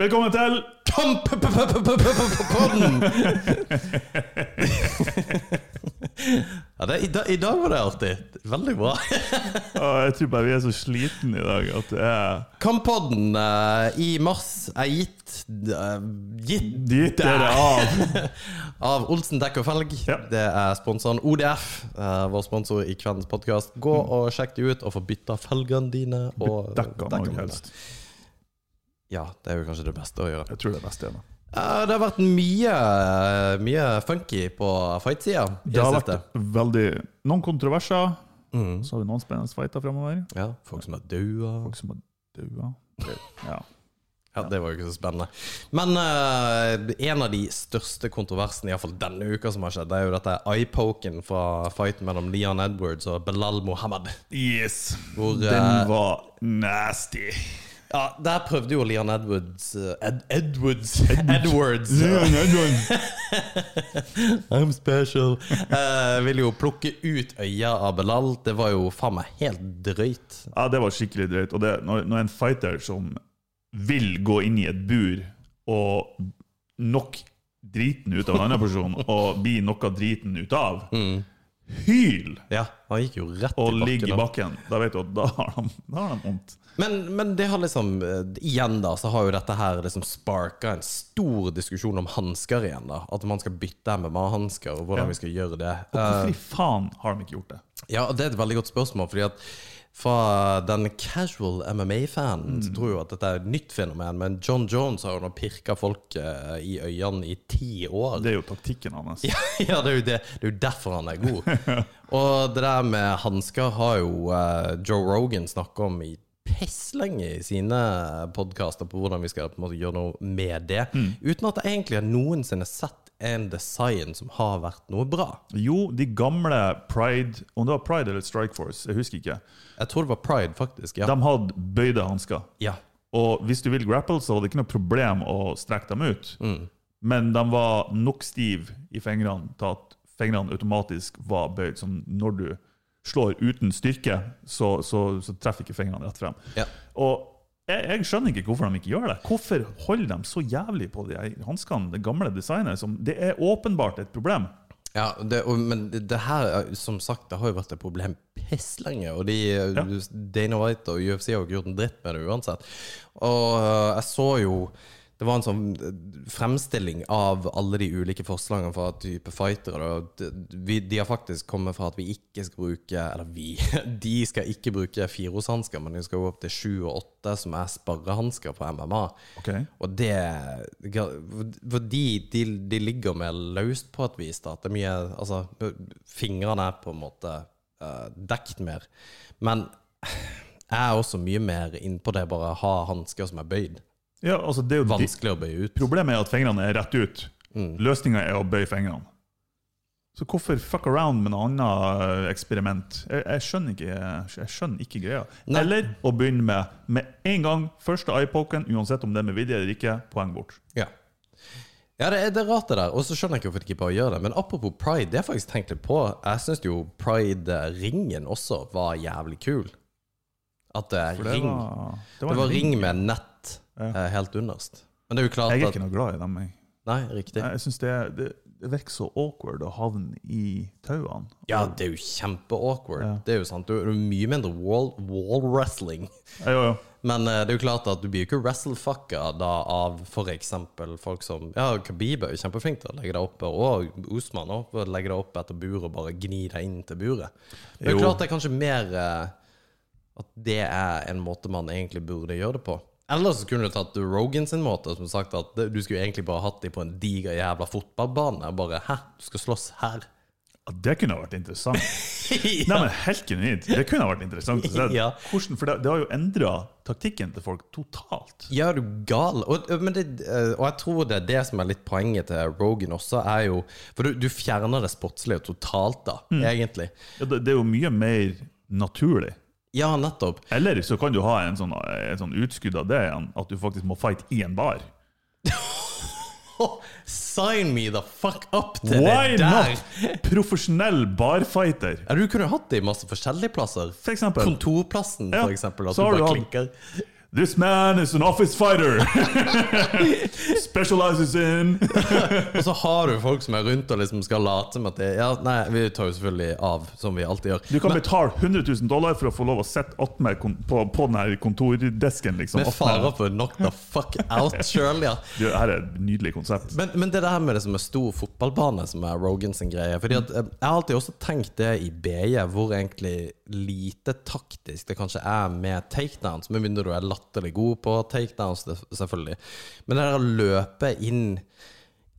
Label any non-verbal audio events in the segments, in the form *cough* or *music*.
Velkommen til Kamp-podden! ja, det, i, dag- I dag var det artig. Veldig bra. Å, Jeg tror bare vi er så sliten i dag at det er Kamp-podden eh, i mars er gitt eh, Gitt Dit er det av. *laughs* av Olsen Dekk og Felg. Ja. Det er sponsoren ODF, eh, vår sponsor i kveldens podkast. Gå Mm. og sjekk det ut, og få bytta felgene dine. Og Dekker man dekkene dine. helst. Ja, det er jo kanskje det beste å gjøre. Jeg tror det er best igjen. da. Eh, det har vært mye, mye funky på fight-sida i Det det har siste. vært veldig Noen kontroverser. Mm. Så har vi noen spennende fighter framover. Ja, folk som er daua. Folk som har daua. Ja. Ja, det var jo ikke så spennende. Men eh, en av de største kontroversene, iallfall denne uka, som har skjedd, det er jo dette eye-poken fra fighten mellom Leon Edwards og Belal Mohammed. Yes. Hvor, eh, Den var nasty. Ja, der prøvde jo Leon Edwards eh, Ed Edwards *laughs* Edwards eh, I'm special. eh, ville jo plukke ut øya av Belal. Det var jo faen meg helt drøyt. Ja, det var skikkelig drøyt. Og det, når, når en fighter som vil gå inn i et bur og nok driten ut av en annen *laughs* person, og bli noe driten ut av, Mm. hyl Ja, han gikk jo rett og i ligg i bakken. bakken, da. da vet du at da har de, da har de vondt. Men, men det har liksom eh, Igjen da, så har jo dette her liksom sparka en stor diskusjon om hansker igjen, da. At man skal bytte MMA-hansker, og hvordan Ja. vi skal gjøre det. Hvorfor Eh, i faen har de ikke gjort det? ja, og Det er et veldig godt spørsmål, fordi at fra den casual MMA-fanen så tror jeg jo at dette er et nytt fenomen, men John Jones har jo nå pirka folk eh, i øynene i ti år. Det er jo taktikken hans. Ja, *laughs* ja det, er jo det, det er jo derfor han er god. Og det der med hansker har jo eh, Joe Rogan snakka om i pisslenge i sine podkaster, på hvordan vi skal på en måte gjøre noe med det. Uten at jeg egentlig har noensinne sett en design som har vært noe bra. Jo, de gamle Pride Om det var Pride eller Strike Force, jeg husker ikke. Jeg tror det var Pride, faktisk. Ja. De hadde bøyde hansker. ja. Og hvis du vil grapple, så var det ikke noe problem å strekke dem ut. Mm. Men de var nok stive i fingrene til at fingrene automatisk var bøyd. Som når du slår uten styrke, så, så, så treffer ikke fingrene rett frem. Ja. Og jeg, jeg skjønner ikke hvorfor de ikke gjør det. Hvorfor holder de så jævlig på de her hanskene, det gamle designet? Som, det er åpenbart et problem. Ja, det, og, men det det her, er- som sagt, det har jo vært et problem pisslenge. Og de, Dana White og UFC har jo ikke gjort en dritt med det uansett. Og øh, jeg så jo Det var en sånn øh, fremstilling av alle de ulike forslagene fra type fightere. da. De, vi, de har faktisk kommet fra at vi ikke skal bruke Eller vi. *laughs* De skal ikke bruke firehåndshansker, men de skal gå opp til sju og åtte, som er sparrehansker på MMA. Ok. Og det Fordi de, de ligger med løst på et vis, da. At det er mye Altså, fingrene er på en måte uh, dekt mer. Men jeg er også mye mer innpå det bare å ha hansker som er bøyd. Ja, altså det er jo de, Vanskelig å bøye ut. Problemet er at fingrene er rett ut. Mm. Løsninga er å bøye fingrene. Så hvorfor fuck around med noe annet eh, eksperiment? Jeg, jeg, skjønner, ikke, jeg skjønner ikke greia. Nei. Eller å begynne med med en gang første eyepoken, uansett om det er med vilje eller ikke, poeng bort. Ja. Ja, det er, det er rart det der, og så skjønner jeg ikke hvorfor de ikke bare gjør det. Men apropos pride, det har jeg faktisk tenkt litt på. Jeg syns jo pride-ringen også var jævlig kul. At det er For det ring. var, Det var en ring med nett Ja. eh, helt underst. Men det er jo klart Jeg er at ikke noe glad i dem. Jeg, Nei, riktig. jeg synes det, det, det virker så awkward å havne i tauene. Ja, det er jo kjempe-awkward. Ja. Det er jo sant. Du er mye mindre wall, wall wrestling. Ja, jo, jo. Men eh, det er jo klart at du blir jo ikke wrestle-fucka da av f.eks. folk som Ja, Khabib er jo kjempeflink til å legge deg oppe, og Osman òg. Legge deg opp etter buret og bare gni deg inn til buret. Men det er Jo. jo klart det er kanskje mer eh, at det er en måte man egentlig burde gjøre det på. Eller så kunne du tatt Rogan sin måte, som sagt at det- du skulle jo egentlig bare hatt de på en diger jævla fotballbane. og Bare Hæ, du skal slåss her? Ja, det kunne ha vært *laughs* interessant. Nei, men helt genuint. Det kunne ha vært interessant å se. *laughs* Ja. Hvordan, for det, det har jo endra taktikken til folk totalt. Ja, er du gal? Og, men det, og jeg tror det er det som er litt poenget til Rogan også, er jo For du, du fjerner det sportslige totalt, da, Mm. egentlig. Ja, det, det er jo mye mer naturlig. Ja, *laughs* nettopp. Eller så kan du ha en sånn, en sånn utskudd av det igjen, at du faktisk må fight i en bar. Ho, sign me the fuck up til Why det der! not? Profesjonell barfighter, Ja, du kunne jo hatt det i masse forskjellige plasser. for eksempel. Kontorplassen, Ja, for eksempel. At så har du bare *laughs* du hatt- klinker. This man is an office *laughs* fighter! Specializes in Og så har du folk som er rundt og liksom skal late som at det Ja, nei, vi tar jo selvfølgelig av, som vi alltid gjør. Du kan betale 100 000 dollar for å få lov å sitte attmed kon- på, på den her kontordesken. liksom. Med Attmed- fare for knock the fuck out *laughs* sjøl, ja. Du, Her er et nydelig konsept. Men, men det der med det som er stor fotballbane, som er Rogan sin greie Fordi at eh, Jeg har alltid også tenkt det i BJ, hvor egentlig lite taktisk det kanskje er med takedowns, med mindre du er latterlig god på takedowns, det- selvfølgelig. Men det der å løpe inn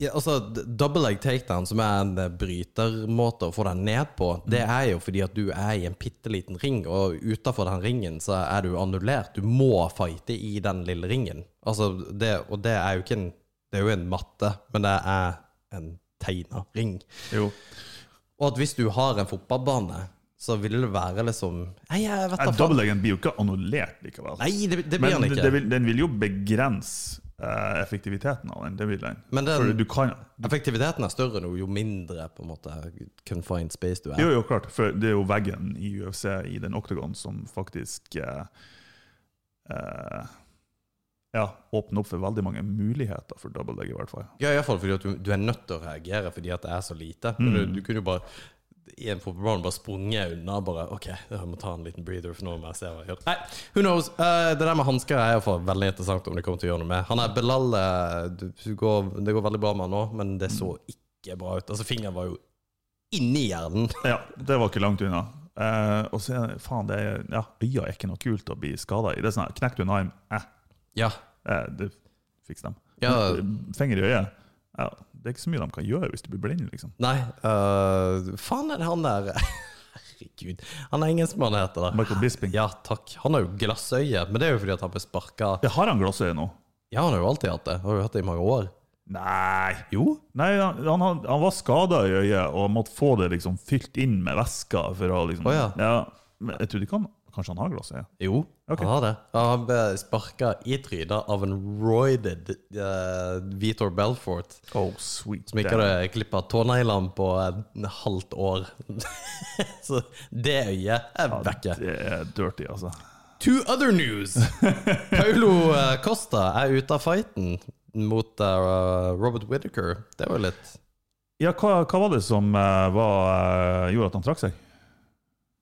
ja, altså, d- Double leg takedown, som er en eh, brytermåte å få deg ned på, det Mm. er jo fordi at du er i en bitte liten ring, og utafor den ringen så er du annullert. Du må fighte i den lille ringen. Altså, det, og det er jo ikke en Det er jo en matte, men det er en tegna ring. Jo. Og at hvis du har en fotballbane, så vil det være liksom Nei, jeg vet da faen. Double-leggen blir jo ikke annullert likevel. Nei, det, det blir Men han ikke. det vil, den vil jo begrense eh, effektiviteten av den. Det vil den. Men den- For du kan... Effektiviteten er større nå, jo mindre på en måte confined space du er. Jo, jo, klart. For det er jo veggen i UFC, i den oktagon, som faktisk eh, eh, ja, åpner opp for veldig mange muligheter for double-leg, i hvert fall. Ja, iallfall fordi at du, du er nødt til å reagere fordi at det er så lite. Mm. Men Du, du kunne jo bare i en fotballbane bare sprunget unna. bare, OK, jeg må ta en liten breather, for nå må jeg se hva jeg gjør. Nei, who knows? Eh, det der med hansker er iallfall veldig interessant om det kommer til å gjøre noe med. Han er Belal eh, du- du går- Det går veldig bra med han nå, men det så ikke bra ut. Altså, fingeren var jo inni hjernen. *laughs* Ja, det var ikke langt unna. Eh, og så er det, faen, det er, ja, øya er ikke noe kult å bli skada i. Det er sånn her, Knekk du en arm, eh, Ja. eh, det fikser dem. ja. Finger i øyet. Ja, det er ikke så mye de kan gjøre hvis du blir blind, liksom. Nei, eh, faen er det han der *laughs* Herregud. Han er engelskmann, heter det. Michael Bisping. Ja, takk. Han har jo glassøye, men det er jo fordi at han ble sparka Ja, har han glassøye nå? Ja, han har jo alltid hatt det. Han har jo hatt det i mange år. Nei. Jo. Nei, han, han, had- han var skada i øyet og måtte få det liksom fylt inn med væske for å liksom Å ja. men jeg trodde ikke han Kanskje han har glassøye? Jo, Ok. han har det. Ja, Han ble sparka i trynet av en roided eh, Vitor Belfort, Oh, sweet. som ikke damn. hadde klippa tåneglene på et halvt år. *laughs* Så det øyet er vekke. Det er dirty, altså. To *laughs* other news! Paulo eh, Costa er ute av fighten mot eh, Robert Whittaker. Det var jo litt Ja, hva, hva var det som eh, var, eh, gjorde at han trakk seg?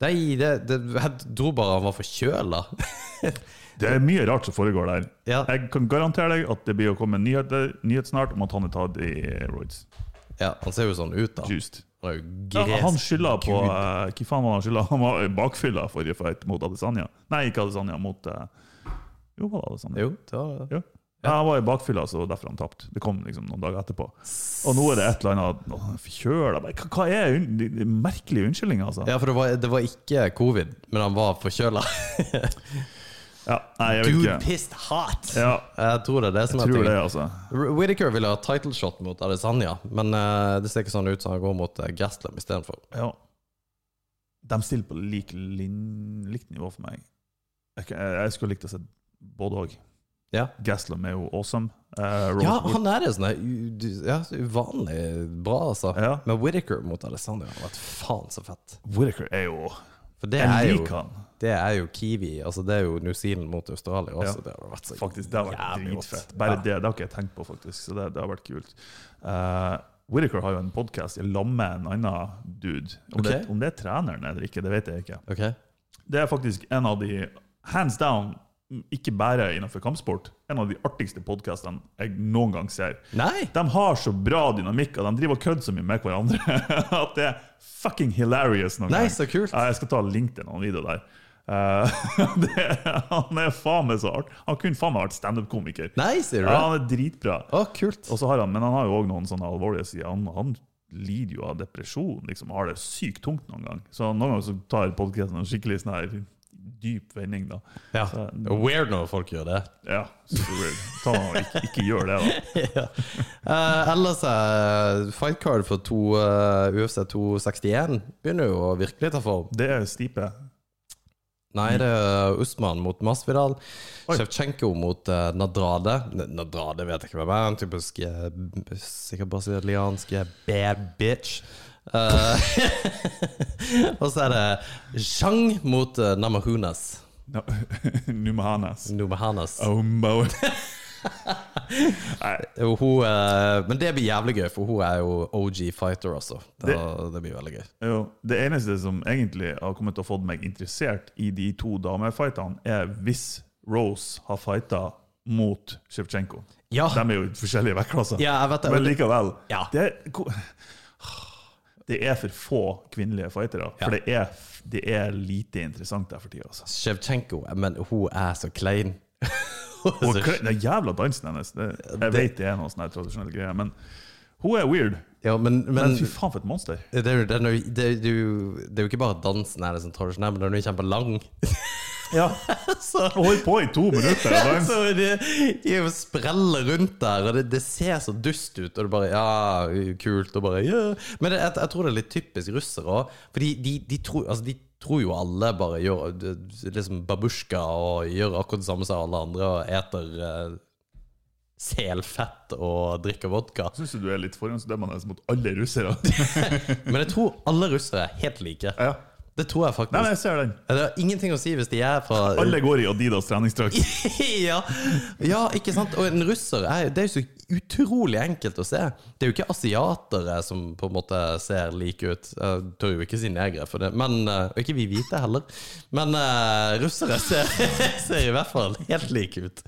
Nei, det, det, jeg dro bare han var forkjøla. Det er mye rart som foregår der. Ja. Jeg kan garantere deg at det blir å komme en nyhet, nyhet snart om at han er tatt i roids. ja, han ser jo sånn ut, da. Juiced. Han er jo Ja, han gresk skylder på gud. eh, Hva faen var han skylda? Han var bakfylla forrige fight mot Adesanya. Nei, ikke Adesanya, mot eh, Jo, var det Adesanya? Jo, det var det. Jo. Ja, han var i bakfylla, så derfor han tapte. Det kom liksom noen dager etterpå. Og nå er det et eller annet å, Forkjøla Men Hva hva er un de- de merkelige unnskyldninger, altså? Ja, for det var, det var ikke covid, men han var forkjøla. Ja, nei, jeg vet Dude ikke. pissed hot! Ja, Jeg tror det er det som er tror det, tingen. altså. Whittaker ville ha title shot mot Adesanya, men eh, det ser ikke sånn ut, så han går mot uh, Gaslam istedenfor. Ja. De stiller på lik, lin, likt nivå for meg. Jeg, kan- jeg skulle likt å se både òg. Ja. Gaslam er jo awesome. Eh, Robert Ja, Wood- han er det sånn der, u- du- ja, så uvanlig bra, altså. Ja. Men Whittaker mot Adesanya hadde vært faen så fett. Whittaker er jo For det er Jeg jo, liker han. det er jo Kiwi. Altså, det er jo New Zealand mot Australia også. Det hadde vært så Faktisk, det har vært jævlig godt. dritfett. Bare Ja. det, det har ikke jeg tenkt på, faktisk. Så det, det har vært kult. Uh, Whittaker har jo en podkast i lag med en annen dude. Om, det, Ok. om det er treneren eller ikke, det vet jeg ikke. Ok. Det er faktisk en av de, hands down, ikke bare innenfor kampsport, en av de artigste podkastene jeg noen gang ser. Nei! De har så bra dynamikk, og de driver og kødder så mye med hverandre *laughs* at det er fucking hilarious noen Nei, gang. så kult. Ja, jeg skal ta link til noen videoer der. Eh, *laughs* det, han er faen meg så art. Han kunne faen meg vært standup-komiker. Nei, sier du Ja, det? han er dritbra. Å, kult. Og så har han, men han har jo òg noen sånne alvorlige sider. Han, han lider jo av depresjon liksom, og har det sykt tungt noen gang. Så noen ganger så tar podkasten en skikkelig sånn her dyp vending, da. Ja. Weird når folk gjør det. Ja, super weird. Ta nå og ikke, ikke gjør det, da. *laughs* ja. Eh, ellers er fight card for to, eh, UFC 261 begynner jo å virkelig ta form. Det er stipe. *laughs* Nei, det er Usman mot Masvidal. Oi. Sjevtsjenko mot eh, Nadrade. N- Nadrade vet jeg ikke hvem er. En typisk eh, b- sikkert brasiliansk eh, bad bitch. *laughs* Eh, og så er det Zhang mot uh, Namahunas. No, Numahanas. Numahanas. Ombo. Nei, Og Hun, eh, men det blir jævlig gøy, for hun er jo OG fighter, altså. Det, det, blir veldig gøy. jo, det eneste som egentlig har kommet til å fått meg interessert i de to damefightene, er hvis Rose har fighta mot Shevchenko. Ja, De er jo i forskjellige vektklasser, Ah. ja jeg vet det. men likevel. Ja. Det er, ko- *sighs* det er for få kvinnelige fightere, for det er, det er lite interessant der for tida. Altså. Shevchenko, men hun er så klein. *laughs* Og kle- den jævla dansen hennes det, Jeg vet det er noe sånn her tradisjonell greie, men hun er weird. Ja, men, Men men fy faen, for et monster. det, er jo- det, er jo- det, er jo- det er jo ikke bare dansen er det som tradisjonell, men den er jo kjempelang. Ja. *laughs* så Og holdt på i to minutter. og dans. så de, de spreller rundt der, og det, det ser så dust ut. Og det bare Ja, kult. Og bare ja. Men det, jeg, jeg tror det er litt typisk russere òg. For de, de, de, tror, altså, de tror jo alle bare gjør det- liksom babusjka og gjør akkurat det samme som alle andre og eter eh, selfett og drikker vodka. Syns du du er litt forhåndsdømmende mot alle russere? Men jeg tror alle russere er helt like. Ja. Det tror jeg Nei, faktisk. nei, jeg ser den. Det har ingenting å si hvis de er fra Alle går i Adidas treningsdrakt. *laughs* ja. ja, ikke sant? Og en russer er, det er jo så utrolig enkelt å se. Det er jo ikke asiatere som på en måte ser like ut. Jeg tør jo ikke si negre, for det. Men, eh, og ikke vi hvite heller. Men eh, russere ser, *laughs* ser i hvert fall helt like ut.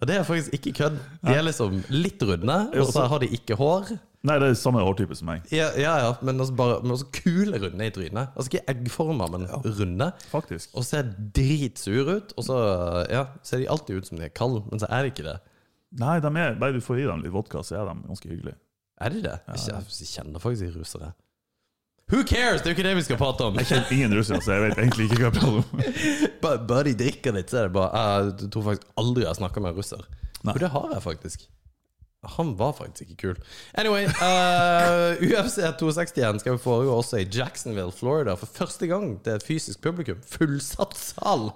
Og det er faktisk ikke kødd. De er liksom litt runde, og så har de ikke hår. Nei, det er samme hårtype som meg, Ja, ja, ja men også bare men også kule runde i trynet. Altså ikke eggforma, men runde. faktisk. Og ser dritsure ut, og så ja, ser de alltid ut som de er kalde, men så er de ikke det. Nei, de er, bare du får i dem litt vodka, så er de ganske hyggelige. Er de det? Jeg kjenner- Jeg kjenner faktisk ikke russere. Who cares? Det er jo ikke det vi skal prate om! Jeg kjenner ingen russere, så jeg vet egentlig ikke hva jeg prater om. Bare, bare de drikker litt, så er det bare Jeg tror faktisk aldri jeg har snakka med en russer. Nei. Og det har jeg faktisk. Han var faktisk ikke kul. Anyway, eh, *laughs* UFC 261 skal jo foregå også i Jacksonville, Florida, for første gang til et fysisk publikum. Fullsatt sal!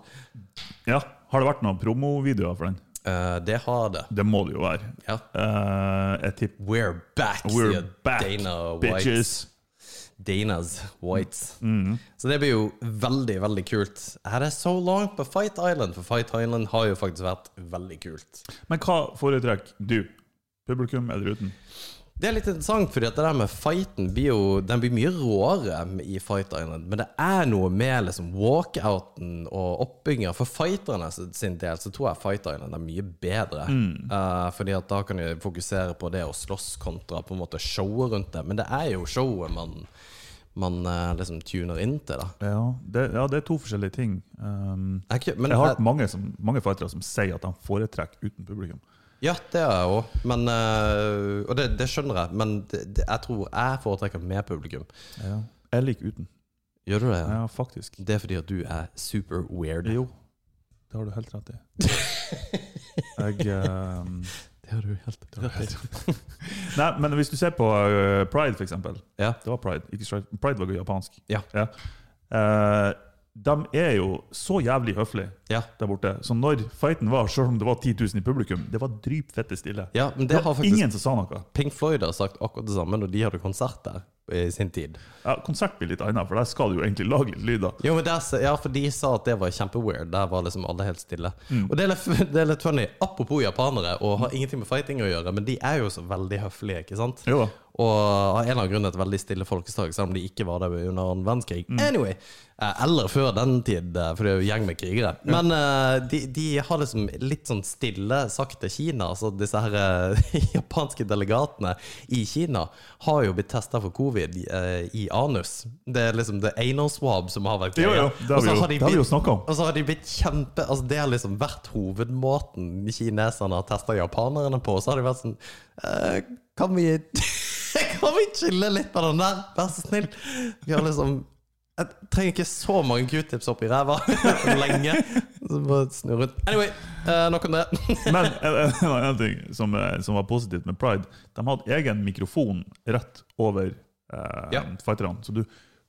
Ja, Har det vært noen promovideoer for den? Eh, det har det. Det må det jo være. Ja. Eh, jeg tipper We're back, We're sier back, Dana White. bitches. Mm-hmm. Danas Whites. Så det blir jo veldig, veldig kult. Her er so long på Fight Island, for Fight Island har jo faktisk vært veldig kult. Men hva foretrekker du? Publikum eller uten? Det er litt interessant, fordi at det der med fighten blir jo Den blir mye råere i Fight Island, men det er noe med liksom walkouten og oppbygginga. For fighterne s- sin del så tror jeg Fight Island er mye bedre. Mm. Hmm. Eh, fordi at da kan de fokusere på det å slåss kontra på en måte showet rundt det. Men det er jo showet man, man eh, liksom tuner inn til, da. Ja, det, ja, det er to forskjellige ting. Um, Jeg, er ikke- men jeg har hørt mange, som, mange fightere som sier at de foretrekker uten publikum. Ja, det er jeg òg. Men, øh, og det, det skjønner jeg, men det, det, jeg tror jeg foretrekker med publikum. Jeg liker uten. Gjør du det? Ja, faktisk. Det er fordi at du er super weird. *laughs* Jo, det har du helt rett i. Jeg um, Det har du helt rett i. Nei, men hvis du ser på uh, Pride, for eksempel. Ja. Det var Pride. Ikke Stride. Pride var jo japansk. Ja. Eh, de er jo så jævlig høflige Ja. der borte. Så når fighten var, selv om det var 10 000 i publikum, det var drypfette stille. ja, men det har faktisk Ingen som sa noe. Pink Floyd har sagt akkurat det samme når de hadde konsert der i sin tid. Ja, konsert blir litt annet, for der skal du jo egentlig lage litt lyder. Jo, men der, sa- ja, for de sa at det var kjempeweird. Der var liksom alle helt stille. Og det er, litt, det er litt funny. Apropos japanere, og har ingenting med fighting å gjøre, men de er jo så veldig høflige, ikke sant? Jo da. Og av en eller annen grunn et veldig stille folkeslag, selv om de ikke var der under annen verdenskrig. Mm. Anyway, eh, Eller før den tid, eh, for det er jo gjeng med krigere. Men eh, de, de har liksom litt sånn stille sagt til Kina. Altså disse her eh, *laughs* japanske delegatene i Kina har jo blitt testa for covid eh, i anus. Det er liksom the anal swab som har vært Jo, jo, det har vi Og så jo, de det har vi jo blitt- snakka om. og så har de blitt kjempe Altså Det har liksom vært hovedmåten kineserne har testa japanerne på. Så har de vært sånn eh, Kan vi *laughs* Kan vi chille litt på den der, vær så snill? Vi har liksom Jeg trenger ikke så mange q-tips oppi ræva *laughs* lenge. Så bare snu rundt. Anyway, eh, nok om det. *laughs* Men eh, en, *laughs* en, annen ting som, eh, som var positivt med Pride, de hadde egen mikrofon rett over eh, Ja. fighterne. Så du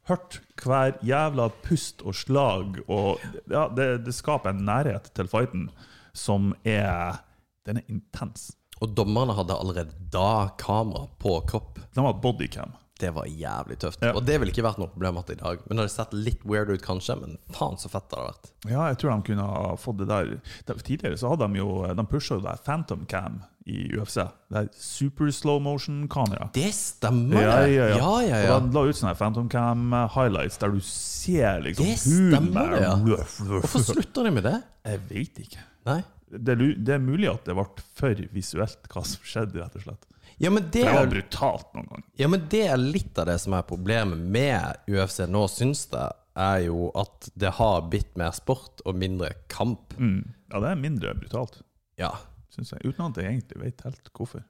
hørte hver jævla pust og slag, og ja, det, det skaper en nærhet til fighten som er Den er intens. Og dommerne hadde allerede da kamera på kropp. De har bodycam. Det var jævlig tøft. Ja. Og det ville ikke vært noe problem hatt i dag. Men det hadde sett litt weird ut, kanskje. Men faen, så fett det hadde vært. Ja, jeg tror de kunne ha fått det der. De- Tidligere så hadde de jo, de pusha jo det her Phantom Cam i UFC. Det er super slow motion-kamera. Det stemmer! Ja, ja, ja. ja, ja, ja. Og de la ut sånne her Phantom Cam eh, highlights der du ser liksom Det stemmer, der. ja. Ruff, ruff. Hvorfor slutta de med det? Jeg vet ikke. Nei? Det, er lu- det er mulig at det ble for visuelt hva som skjedde, rett og slett. Ja, men det Det var er brutalt noen ganger. Ja, men det er litt av det som er problemet med UFC nå, syns jeg, er jo at det har blitt mer sport og mindre kamp. Mm. Ja, det er mindre brutalt, Ja. syns jeg. Uten at jeg egentlig vet helt hvorfor.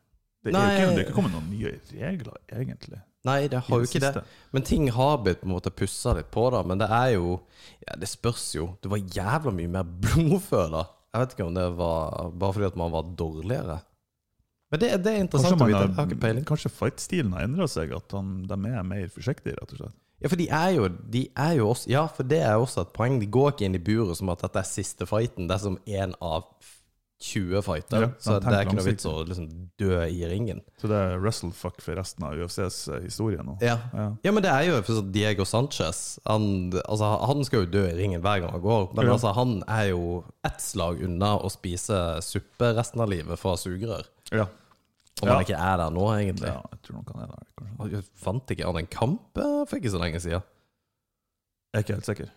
Det er, jo Nei. ikke, det er ikke kommet noen nye regler, egentlig. Nei, det har I jo det ikke det. siste. Men ting har blitt på en måte pussa litt på, da. Men det er jo ja, Det spørs jo. Det var jævla mye mer blodfør, da. Jeg vet ikke om det var bare fordi at man var dårligere. Men det, det er Kanskje, interessant å man vite. har- Jeg har ikke peiling. kanskje fightstilen har endra seg, at han, de er mer forsiktige, rett og slett. Ja, for de er jo, de er jo også Ja, for det er jo også et poeng. De går ikke inn i buret som at dette er siste fighten. Det er som én av 20 fighter. Ja, så de det er ikke tenker noe vits å liksom dø i ringen. Så det er wrestlefuck for resten av UFCs eh, historie nå. Ja. Ja. ja, men det er jo for sånn Diego Sanchez. Han, altså, han skal jo dø i ringen hver gang han går, men Ja. altså, han er jo ett slag unna å spise suppe resten av livet fra sugerør. Ja. Om han Ja. ikke er der nå, egentlig. ja, jeg tror nok han er der, kanskje. Jeg Fant ikke han en kamp eh, for ikke så lenge siden? Jeg er ikke helt sikker.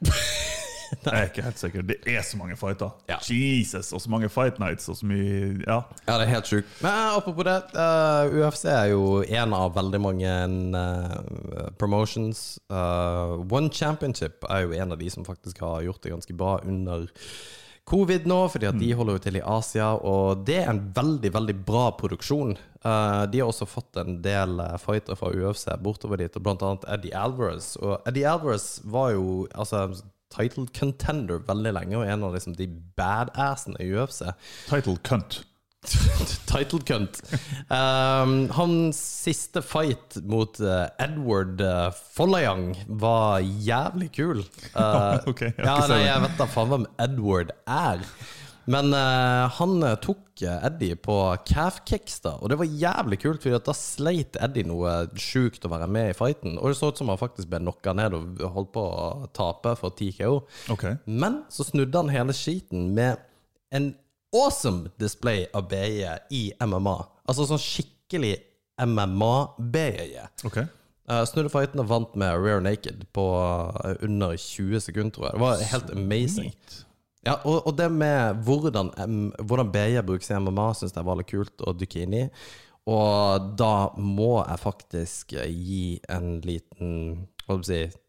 Jeg er ikke helt sikker. Det er så mange fighter. Ja. Jesus, og så mange fight nights, og så mye Ja. Ja, det er helt sjukt. Men apropos det, eh, UFC er jo en av veldig mange eh, promotions. Eh, One Championship er jo en av de som faktisk har gjort det ganske bra under covid nå, fordi at de holder jo til i Asia, og det er en veldig, veldig bra produksjon. Eh, de har også fått en del eh, fighter fra UFC bortover dit, og blant annet Eddie Alvarez. Og Eddie Alvarez var jo altså title contender veldig lenge, og en av liksom de badassene i UFC. Title cunt. *laughs* Title cunt. Um, hans siste fight mot eh, Edward uh, Follayang var jævlig *laughs* kul. Uh, Ok, jeg ja, skal se nei, det. jeg vet da faen hvem Edward er. Men eh, han eh, tok eh, Eddie på calf kicks, da, og det var jævlig kult, for da sleit Eddie noe sjukt å være med i fighten. Og det så ut som han faktisk ble knocka ned og holdt på å tape for TKO. OK. Men så snudde han hele skiten med en awesome display av BJ i MMA. Altså sånn skikkelig MMA-BJ. ok Eh, snudde fighten og vant med rear naked på eh, under 20 sekunder, tror jeg. Det var helt amazing. Neat. Ja, og, og det med hvordan, em, hvordan BJ brukes i MMA, syns jeg var litt kult å dykke inn i. Og da må jeg faktisk eh, gi en liten Hva skal jeg si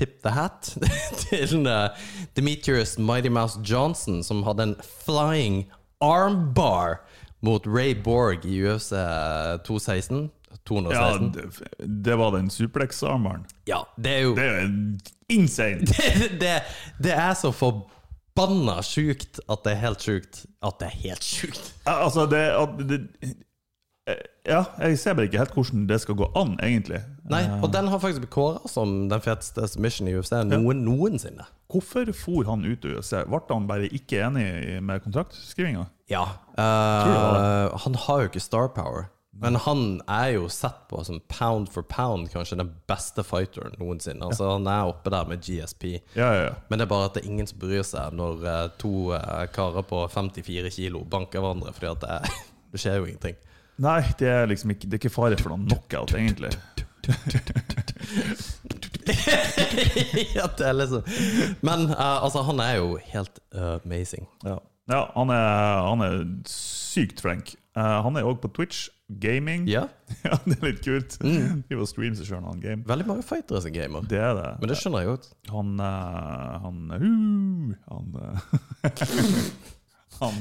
Tip the hat *laughs* til eh, Demetrius Mighty Mouse Johnson, som hadde en flying armbar mot Ray Borg i UFC eh, 216. 216. Ja, det, det var den suplex-armeren. ja, det er jo Det er jo insane! det, *laughs* det, det er så forbanna sjukt at det er helt sjukt at det er helt sjukt. Ja, Altså, det, at det eh, Ja, jeg ser bare ikke helt hvordan det skal gå an, egentlig. Nei, og den har faktisk blitt kåra som den feteste submission i UFC noen, noensinne. Hvorfor for han ut til USA? Ble han bare ikke enig med kontraktskrivinga? Ja. det. Eh, han har jo ikke star power, men han er jo sett på som pound for pound kanskje den beste fighteren noensinne. Altså Han er oppe der med GSP. Ja, ja, ja. Men det er bare at det er ingen som bryr seg når eh, to eh, karer på 54 kilo banker hverandre, fordi at det, *laughs* det skjer jo ingenting. Nei, det er liksom ikke, det er ikke fare for noen knockout, egentlig. ja, det er liksom Men eh, altså, han er jo helt eh, amazing. Ja, ja han, er, han er sykt flink. Eh, han er òg på Twitch. Gaming. Ja, *laughs* Mm. Ja, det er litt kult. De var streams og kjører han game. veldig mange fightere som gamer. Det er det. Men det skjønner jeg jo. Han eh, Han uh, Han eh, *laughs* Han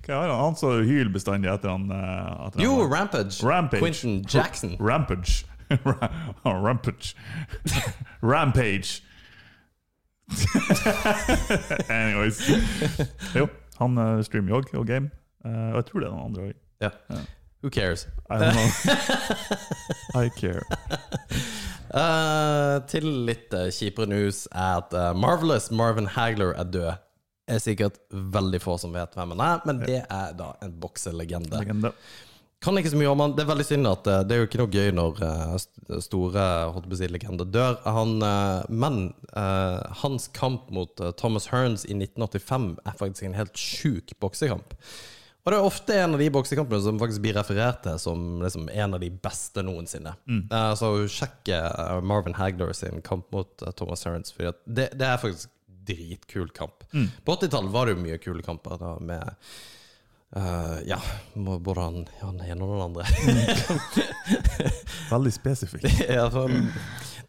Hva er han? Han som hyler bestandig etter han eh, etter Jo, han- Rampage. Rampage. Quentin Jackson. Rampage. *laughs* Ra- Rampage. *laughs* Rampage. *laughs* Anyways. Jo, han eh, streamer jo også, og game. Eh, og jeg tror det er noen andre òg. Ja. Who cares? I don't know. *laughs* I care. Eh, til litt eh, kjipere news er at eh, Marvelous Marvin Hagler er død. Det er sikkert veldig få som vet hvem han er, men det er da en bokselegende. Legende. Kan ikke så mye om han. Det er veldig synd at eh, det er jo ikke noe gøy når eh, st- store eh, holdt på å si, legender dør. Han, eh, men eh, hans kamp mot eh, Thomas Hearns i 1985 er faktisk en helt sjuk boksekamp. Og det er ofte en av de boksekampene som faktisk blir referert til som liksom, en av de beste noensinne. Eh, så sjekk eh, Marvin Hagler sin kamp mot eh, Thomas Hearns, for det, det er faktisk dritkul kamp. På 80-tallet var det jo mye kule kamper da med Eh, ja, må- både han, han ene og den andre. Veldig spesifikk. *laughs* Ja, sånn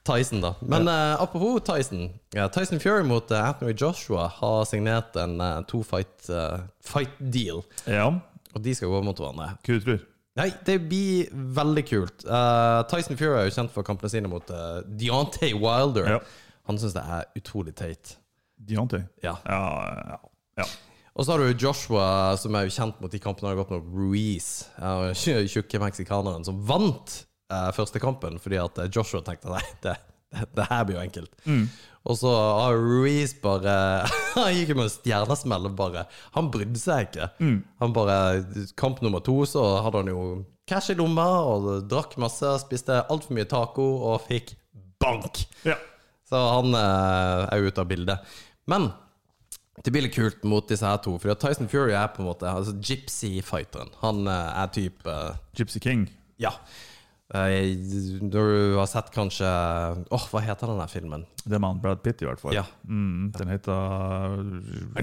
Tyson, da. Men eh, apropos Tyson. Ja, Tyson Fury mot eh, Anthony Joshua har signert en eh, to-fight eh, fight deal. *laughs* Ja, Og de skal gå mot hverandre. hva du tror Nei, det blir veldig kult. Eh, Tyson Fury er jo kjent for kampene sine mot uh, Deontay Wilder. Ja. Han syns det er utrolig teit. Deontay? Ja. Ja, ja, ja. Og så har du Joshua, som er jo kjent mot de kampene han har gått mot Ruiz, eh, tj- tjukke meksikaneren, som vant eh, første kampen fordi at eh, Joshua tenkte nei, det, det, det her blir jo enkelt. Og så har Ruiz bare *laughs* Han gikk jo med en stjernesmell og bare Han brydde seg ikke. Han bare Kamp nummer to, så hadde han jo cash i lomma og drakk masse, spiste altfor mye taco og fikk bank. ja. Så han eh, er jo ute av bildet. Men det blir litt kult mot disse her to, for Tyson Fury er på en måte altså, gypsy-fighteren. Han eh, er type Gypsy King. Ja. Eh, når du har sett kanskje Åh, hva heter den der filmen? Det er med han Brad Pitt, i hvert fall. Ja. Mm, den heter *laughs*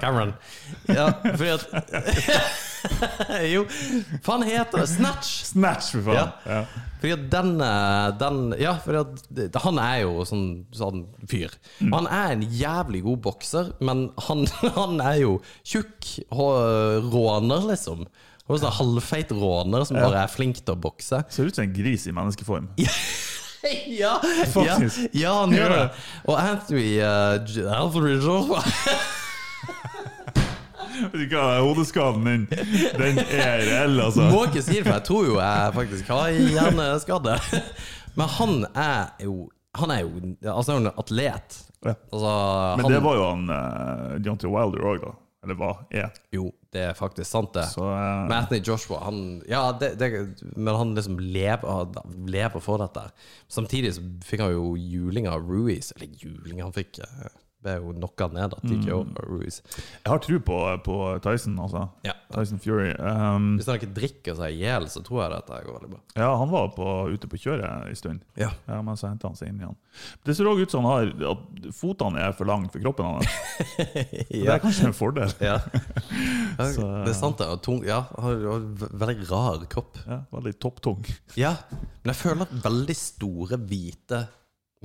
Cameron. Ja, fordi at *laughs* Jo, faen heter det Snatch! Snatch, for faen! Ja. Ja. Fordi at den, eh, den Ja, fordi at det- han er jo sånn, sånn fyr. Mm. Han er en jævlig god bokser, men han, *laughs* han er jo tjukk hå- råner, liksom. Han er sånn halvfeit råner som bare er flink til å *laughs* bokse. Ser ut som en gris i menneskeform. ja, ja, Faktisk. ja, han gjør Ja. det. Og Anthony eh, J- Anthony Joshua Vet *laughs* du hva, Hodeskaden din, den er reell, altså. Må ikke si det, for *laughs* jeg tror jo jeg faktisk har hjerneskade. *laughs* Men han er jo Han er jo altså, han er jo en atlet. Ja. Altså, Men han, det var jo han uh, Deontay Wilder òg, da. Eller hva? Er. Jo, det er faktisk sant, det. Så eh, Men Anthony Joshua, han Ja, det, det, men han liksom lever, lever for dette. Samtidig så fikk han jo juling av Ruiz. Eller juling, han fikk eh, ble jo knocka ned av TKO av Ruiz. jeg har tro på, på Tyson, altså. Ja. Tyson Fury. Um, Hvis han ikke drikker seg i hjel, så tror jeg dette går veldig bra. ja, han var på, ute på kjøret en stund. Ja. Ja, men så henta han seg inn igjen. Det ser òg ut som han har at fotene er for lange for kroppen *laughs* hans. Det ja. er kanskje en fordel. ja. Det er sant, det. Og tung, ja, han har jo ve- veldig rar kropp. Ja, Veldig topptung. Ja, men jeg føler at veldig store hvite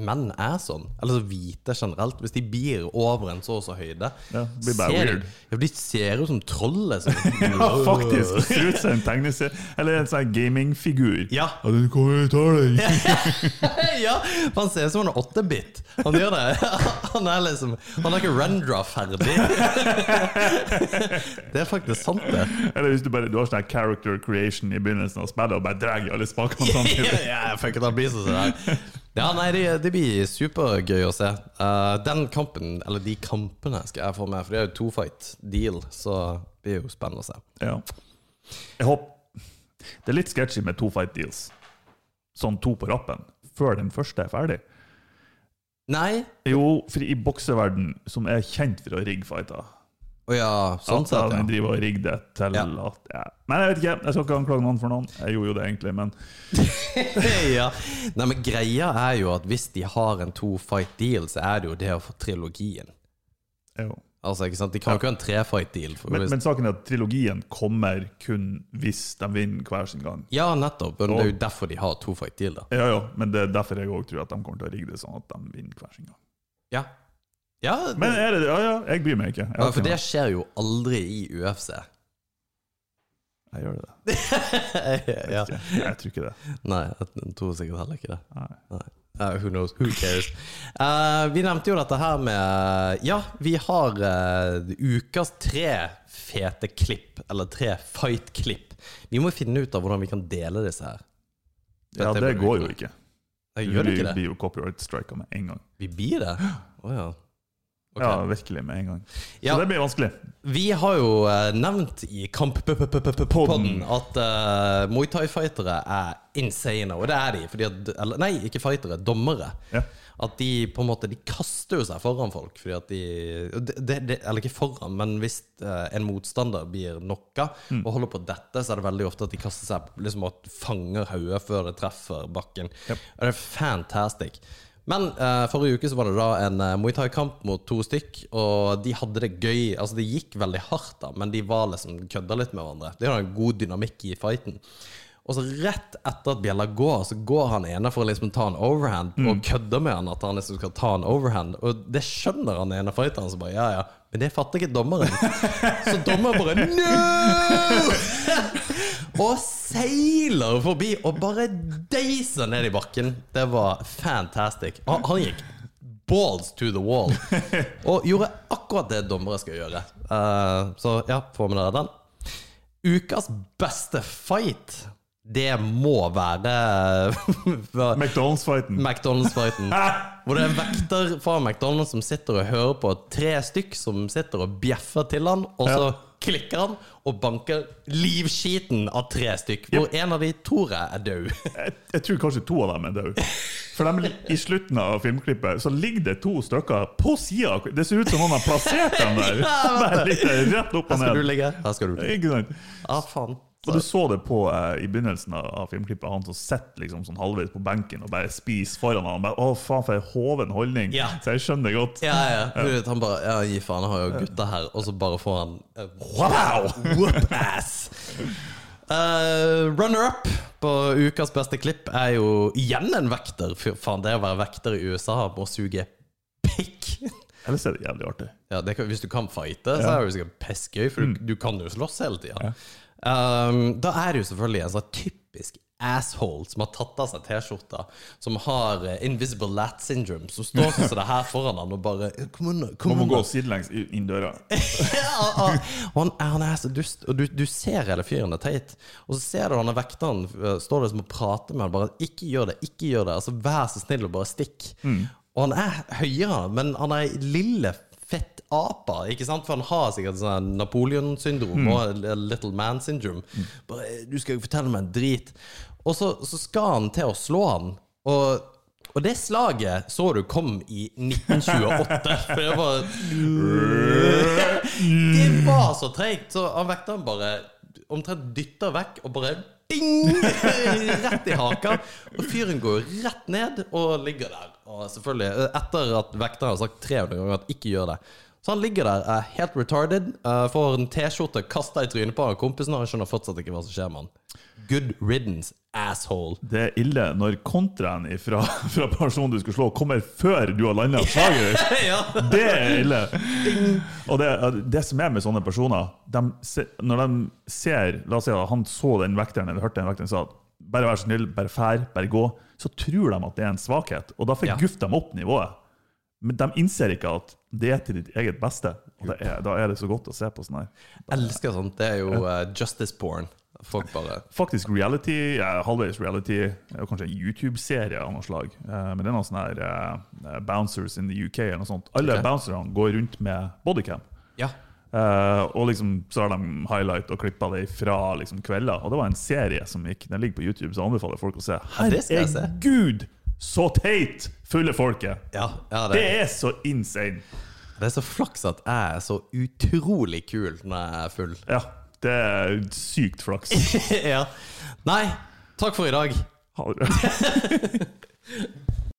menn er sånn. Eller så hvite generelt. Hvis de blir over en så og så høyde, Ja, det blir bare ser weird. De, ja, de ser jo som troll, *laughs* liksom. Ja, faktisk! Det Ser ut som en tegneserie Eller en sånn gamingfigur. Ja. *laughs* Ja, den kommer og tar deg! ja, for han ser ut som han er 8-bit. Han gjør det. *laughs* Han er liksom Han har ikke rendra ferdig. *laughs* Det er faktisk sant, *laughs* det. Eller hvis du bare du har sånn her character creation i begynnelsen av spillet og bare drar alle spakene *laughs* samtidig. ja, jeg fikk ikke ta bisen sånn her. Ja, nei, det, det blir supergøy å se. Eh, den kampen, eller de kampene, skal jeg få med, for det er jo to fight deal, så det blir jo spennende å se. Ja. Jeg håper Det er litt sketchy med to fight deals. Sånn to på rappen. Før den første er ferdig. Nei? Jo, for i bokseverden, som er kjent for å rigge fighter Å ja, sånn At sett, han ja. driver og rigger det til Ja. at ja. Men jeg vet ikke, jeg skal ikke anklage noen for noen. Jeg gjorde jo det egentlig, men ja. Nei, men greia er jo at hvis de har en to fight deal, så er det jo det å få trilogien. jo. Altså, ikke sant? De kan jo ikke ha en tre fight deal. For Men, hvis... men saken er at trilogien kommer kun hvis de vinner hver sin gang. Ja, nettopp. Men det er jo derfor de har to fight deal, da. Ja, ja, men det er derfor jeg òg tror at de kommer til å rigge det sånn at de vinner hver sin gang. Ja. Ja, det... Men er det det? Ja, ja, jeg bryr meg ikke. Jeg, ja, har for ikke det skjer jo aldri i UFC. noe- jeg gjør det. *laughs* ja. Jeg, jeg tror ikke det. Nei, jeg tror sikkert heller ikke det. Nei. Nei. Eh, who knows? Who cares? Eh, vi nevnte jo dette her med uh, Ja, vi har eh, ukas tre fete klipp, eller tre fight-klipp. Vi må finne ut av hvordan vi kan dele disse her. Ja, Dette det blir går jo kult. ikke. Nei, Gjør det Vi ikke det? blir jo copyright strika med en gang. Vi blir det? Å ja. Ok. Ja, virkelig med en gang. Så Ja. det blir vanskelig. Vi har jo eh, nevnt i Kamp-podden at eh, Muay Thai-fightere er insane, og det er de. Fordi at, eller, nei, ikke fightere, dommere. Ja. At de på en måte De kaster jo seg foran folk. Fordi at de, det, det, eller ikke foran, men hvis eh, en motstander blir knocka og holder på å dette, så er det veldig ofte at de kaster seg liksom og fanger hodet før det treffer bakken. Og det er fantastic. Men eh, forrige uke så var det da en eh, Muay Thai-kamp mot to stykk, og de hadde det gøy. Altså, det gikk veldig hardt, da, men de var liksom kødda litt med hverandre. Det er jo en god dynamikk i fighten. Og så rett etter at bjella går, så går han ene for å liksom ta en overhand, og kødder med han at han liksom skal ta en overhand. Og det skjønner han ene fighteren, så bare ja, ja. Men det fatter ikke dommeren. Så dommeren bare no! og seiler forbi og bare deiser ned i bakken. Det var fantastic. Han, han gikk balls to the wall og gjorde akkurat det dommere skal gjøre. Eh, så ja, få med dere den. Ukas beste fight, det må være *laughs* McDonald's-fighten. McDonald's-fighten. Hvor det er en vekter fra McDonald's som sitter og hører på tre stykk som sitter og bjeffer til han, og så klikker han og banker livskiten av tre stykk. Hvor en av de tror jeg er død. Jeg, jeg tror kanskje to av dem er døde. For dem, i slutten av filmklippet så ligger det to stykker på sida. Det ser ut som noen har plassert dem *laughs* der. Der ligger det rett opp og Her skal du ned. ligge. Her skal du ligge. Ikke sant? Ja, faen. Og du så det på eh, i begynnelsen av, av filmklippet, han som sitter liksom sånn halvveis på benken og bare spiser foran han. Bare, Å, faen, for en hoven holdning. Ja. Så jeg skjønner det godt. Ja, ja. Du vet, han bare Ja, gi faen, jeg har jo gutta her. Og så bare får han eh, Wow! Whoop-ass! Eh, Runner-up på ukas beste klipp er jo igjen en vekter. Fy faen, det å være vekter i USA må suge pikk. Ellers er det jævlig artig. Ja, det kan, Hvis du kan fighte, så er det jo sikkert pissgøy, for Mm. du, du kan jo slåss hele tida. Um, da er det jo selvfølgelig en sånn typisk asshole som har tatt av seg T-skjorta, som har eh, invisible lat syndrome, som står sånn som det her foran han og bare Kom unna, kom Man må unna. gå sidelengs i- inn døra. *laughs* ja, og- og han, han er så dust. Og du, du ser hele fyren er teit. Og så ser du han er vekteren øh, står der som og prater med han bare 'Ikke gjør det, ikke gjør det'. Altså Vær så snill og bare stikk. Og han er høyere, men han er lille, fett apa. Ikke sant? For han har sikkert sånn Napoleon-syndrom og Little Man-syndrom. Bare 'Du skal ikke fortelle meg en drit'. Og så, så skal han til å slå han. Og og det slaget så du kom i 1928. *laughs* For det var Det var så treigt, så han vekta han bare omtrent dytta vekk og bare ding! Rett i haka. Og fyren går rett ned og ligger der. Og selvfølgelig, etter at vekteren har sagt 300 ganger at ikke gjør det. Så han ligger der er helt retarded, eh, får en T-skjorte kasta i trynet på han kompisen, og han skjønner fortsatt ikke hva som skjer med han. Good riddance, asshole. *laughs* Det er ille når kontraen fra, *laughs* fra personen du skal slå, kommer før du har landa slaget. ditt. ja. Det er ille! Og det, det som er med sånne personer de, se- Når de ser La oss si at han så den vekteren eller hørte den vekteren sa at bare vær så snill, bare fær, bare gå, så tror de at det er en svakhet. Og da får Ja. guff dem opp nivået. Men de innser ikke at det er til ditt eget beste. Og det er, da er det så godt å se på sånn her. Elsker sånt. Det er jo eh, justice porn. Folk bare Faktisk reality, eh, halvveis reality, eh, og kanskje en YouTube-serie av noe slag. Eh, Men det er noen sånne her eh, Bouncers in the UK eller noe sånt. Alle Ok. bouncerne går rundt med bodycam. Ja. Eh, og liksom så har de highlight og klippa det fra liksom kvelder. Og det var en serie som gikk, den ligger på YouTube, så jeg anbefaler folk å se. Ja, det skal jeg se. Herregud, så teit fulle folket! Ja, ja det, Det er så insane! det er så flaks at jeg er så utrolig kul når jeg er full. Ja, det er sykt flaks. ja. Nei, takk for i dag. Ha det bra.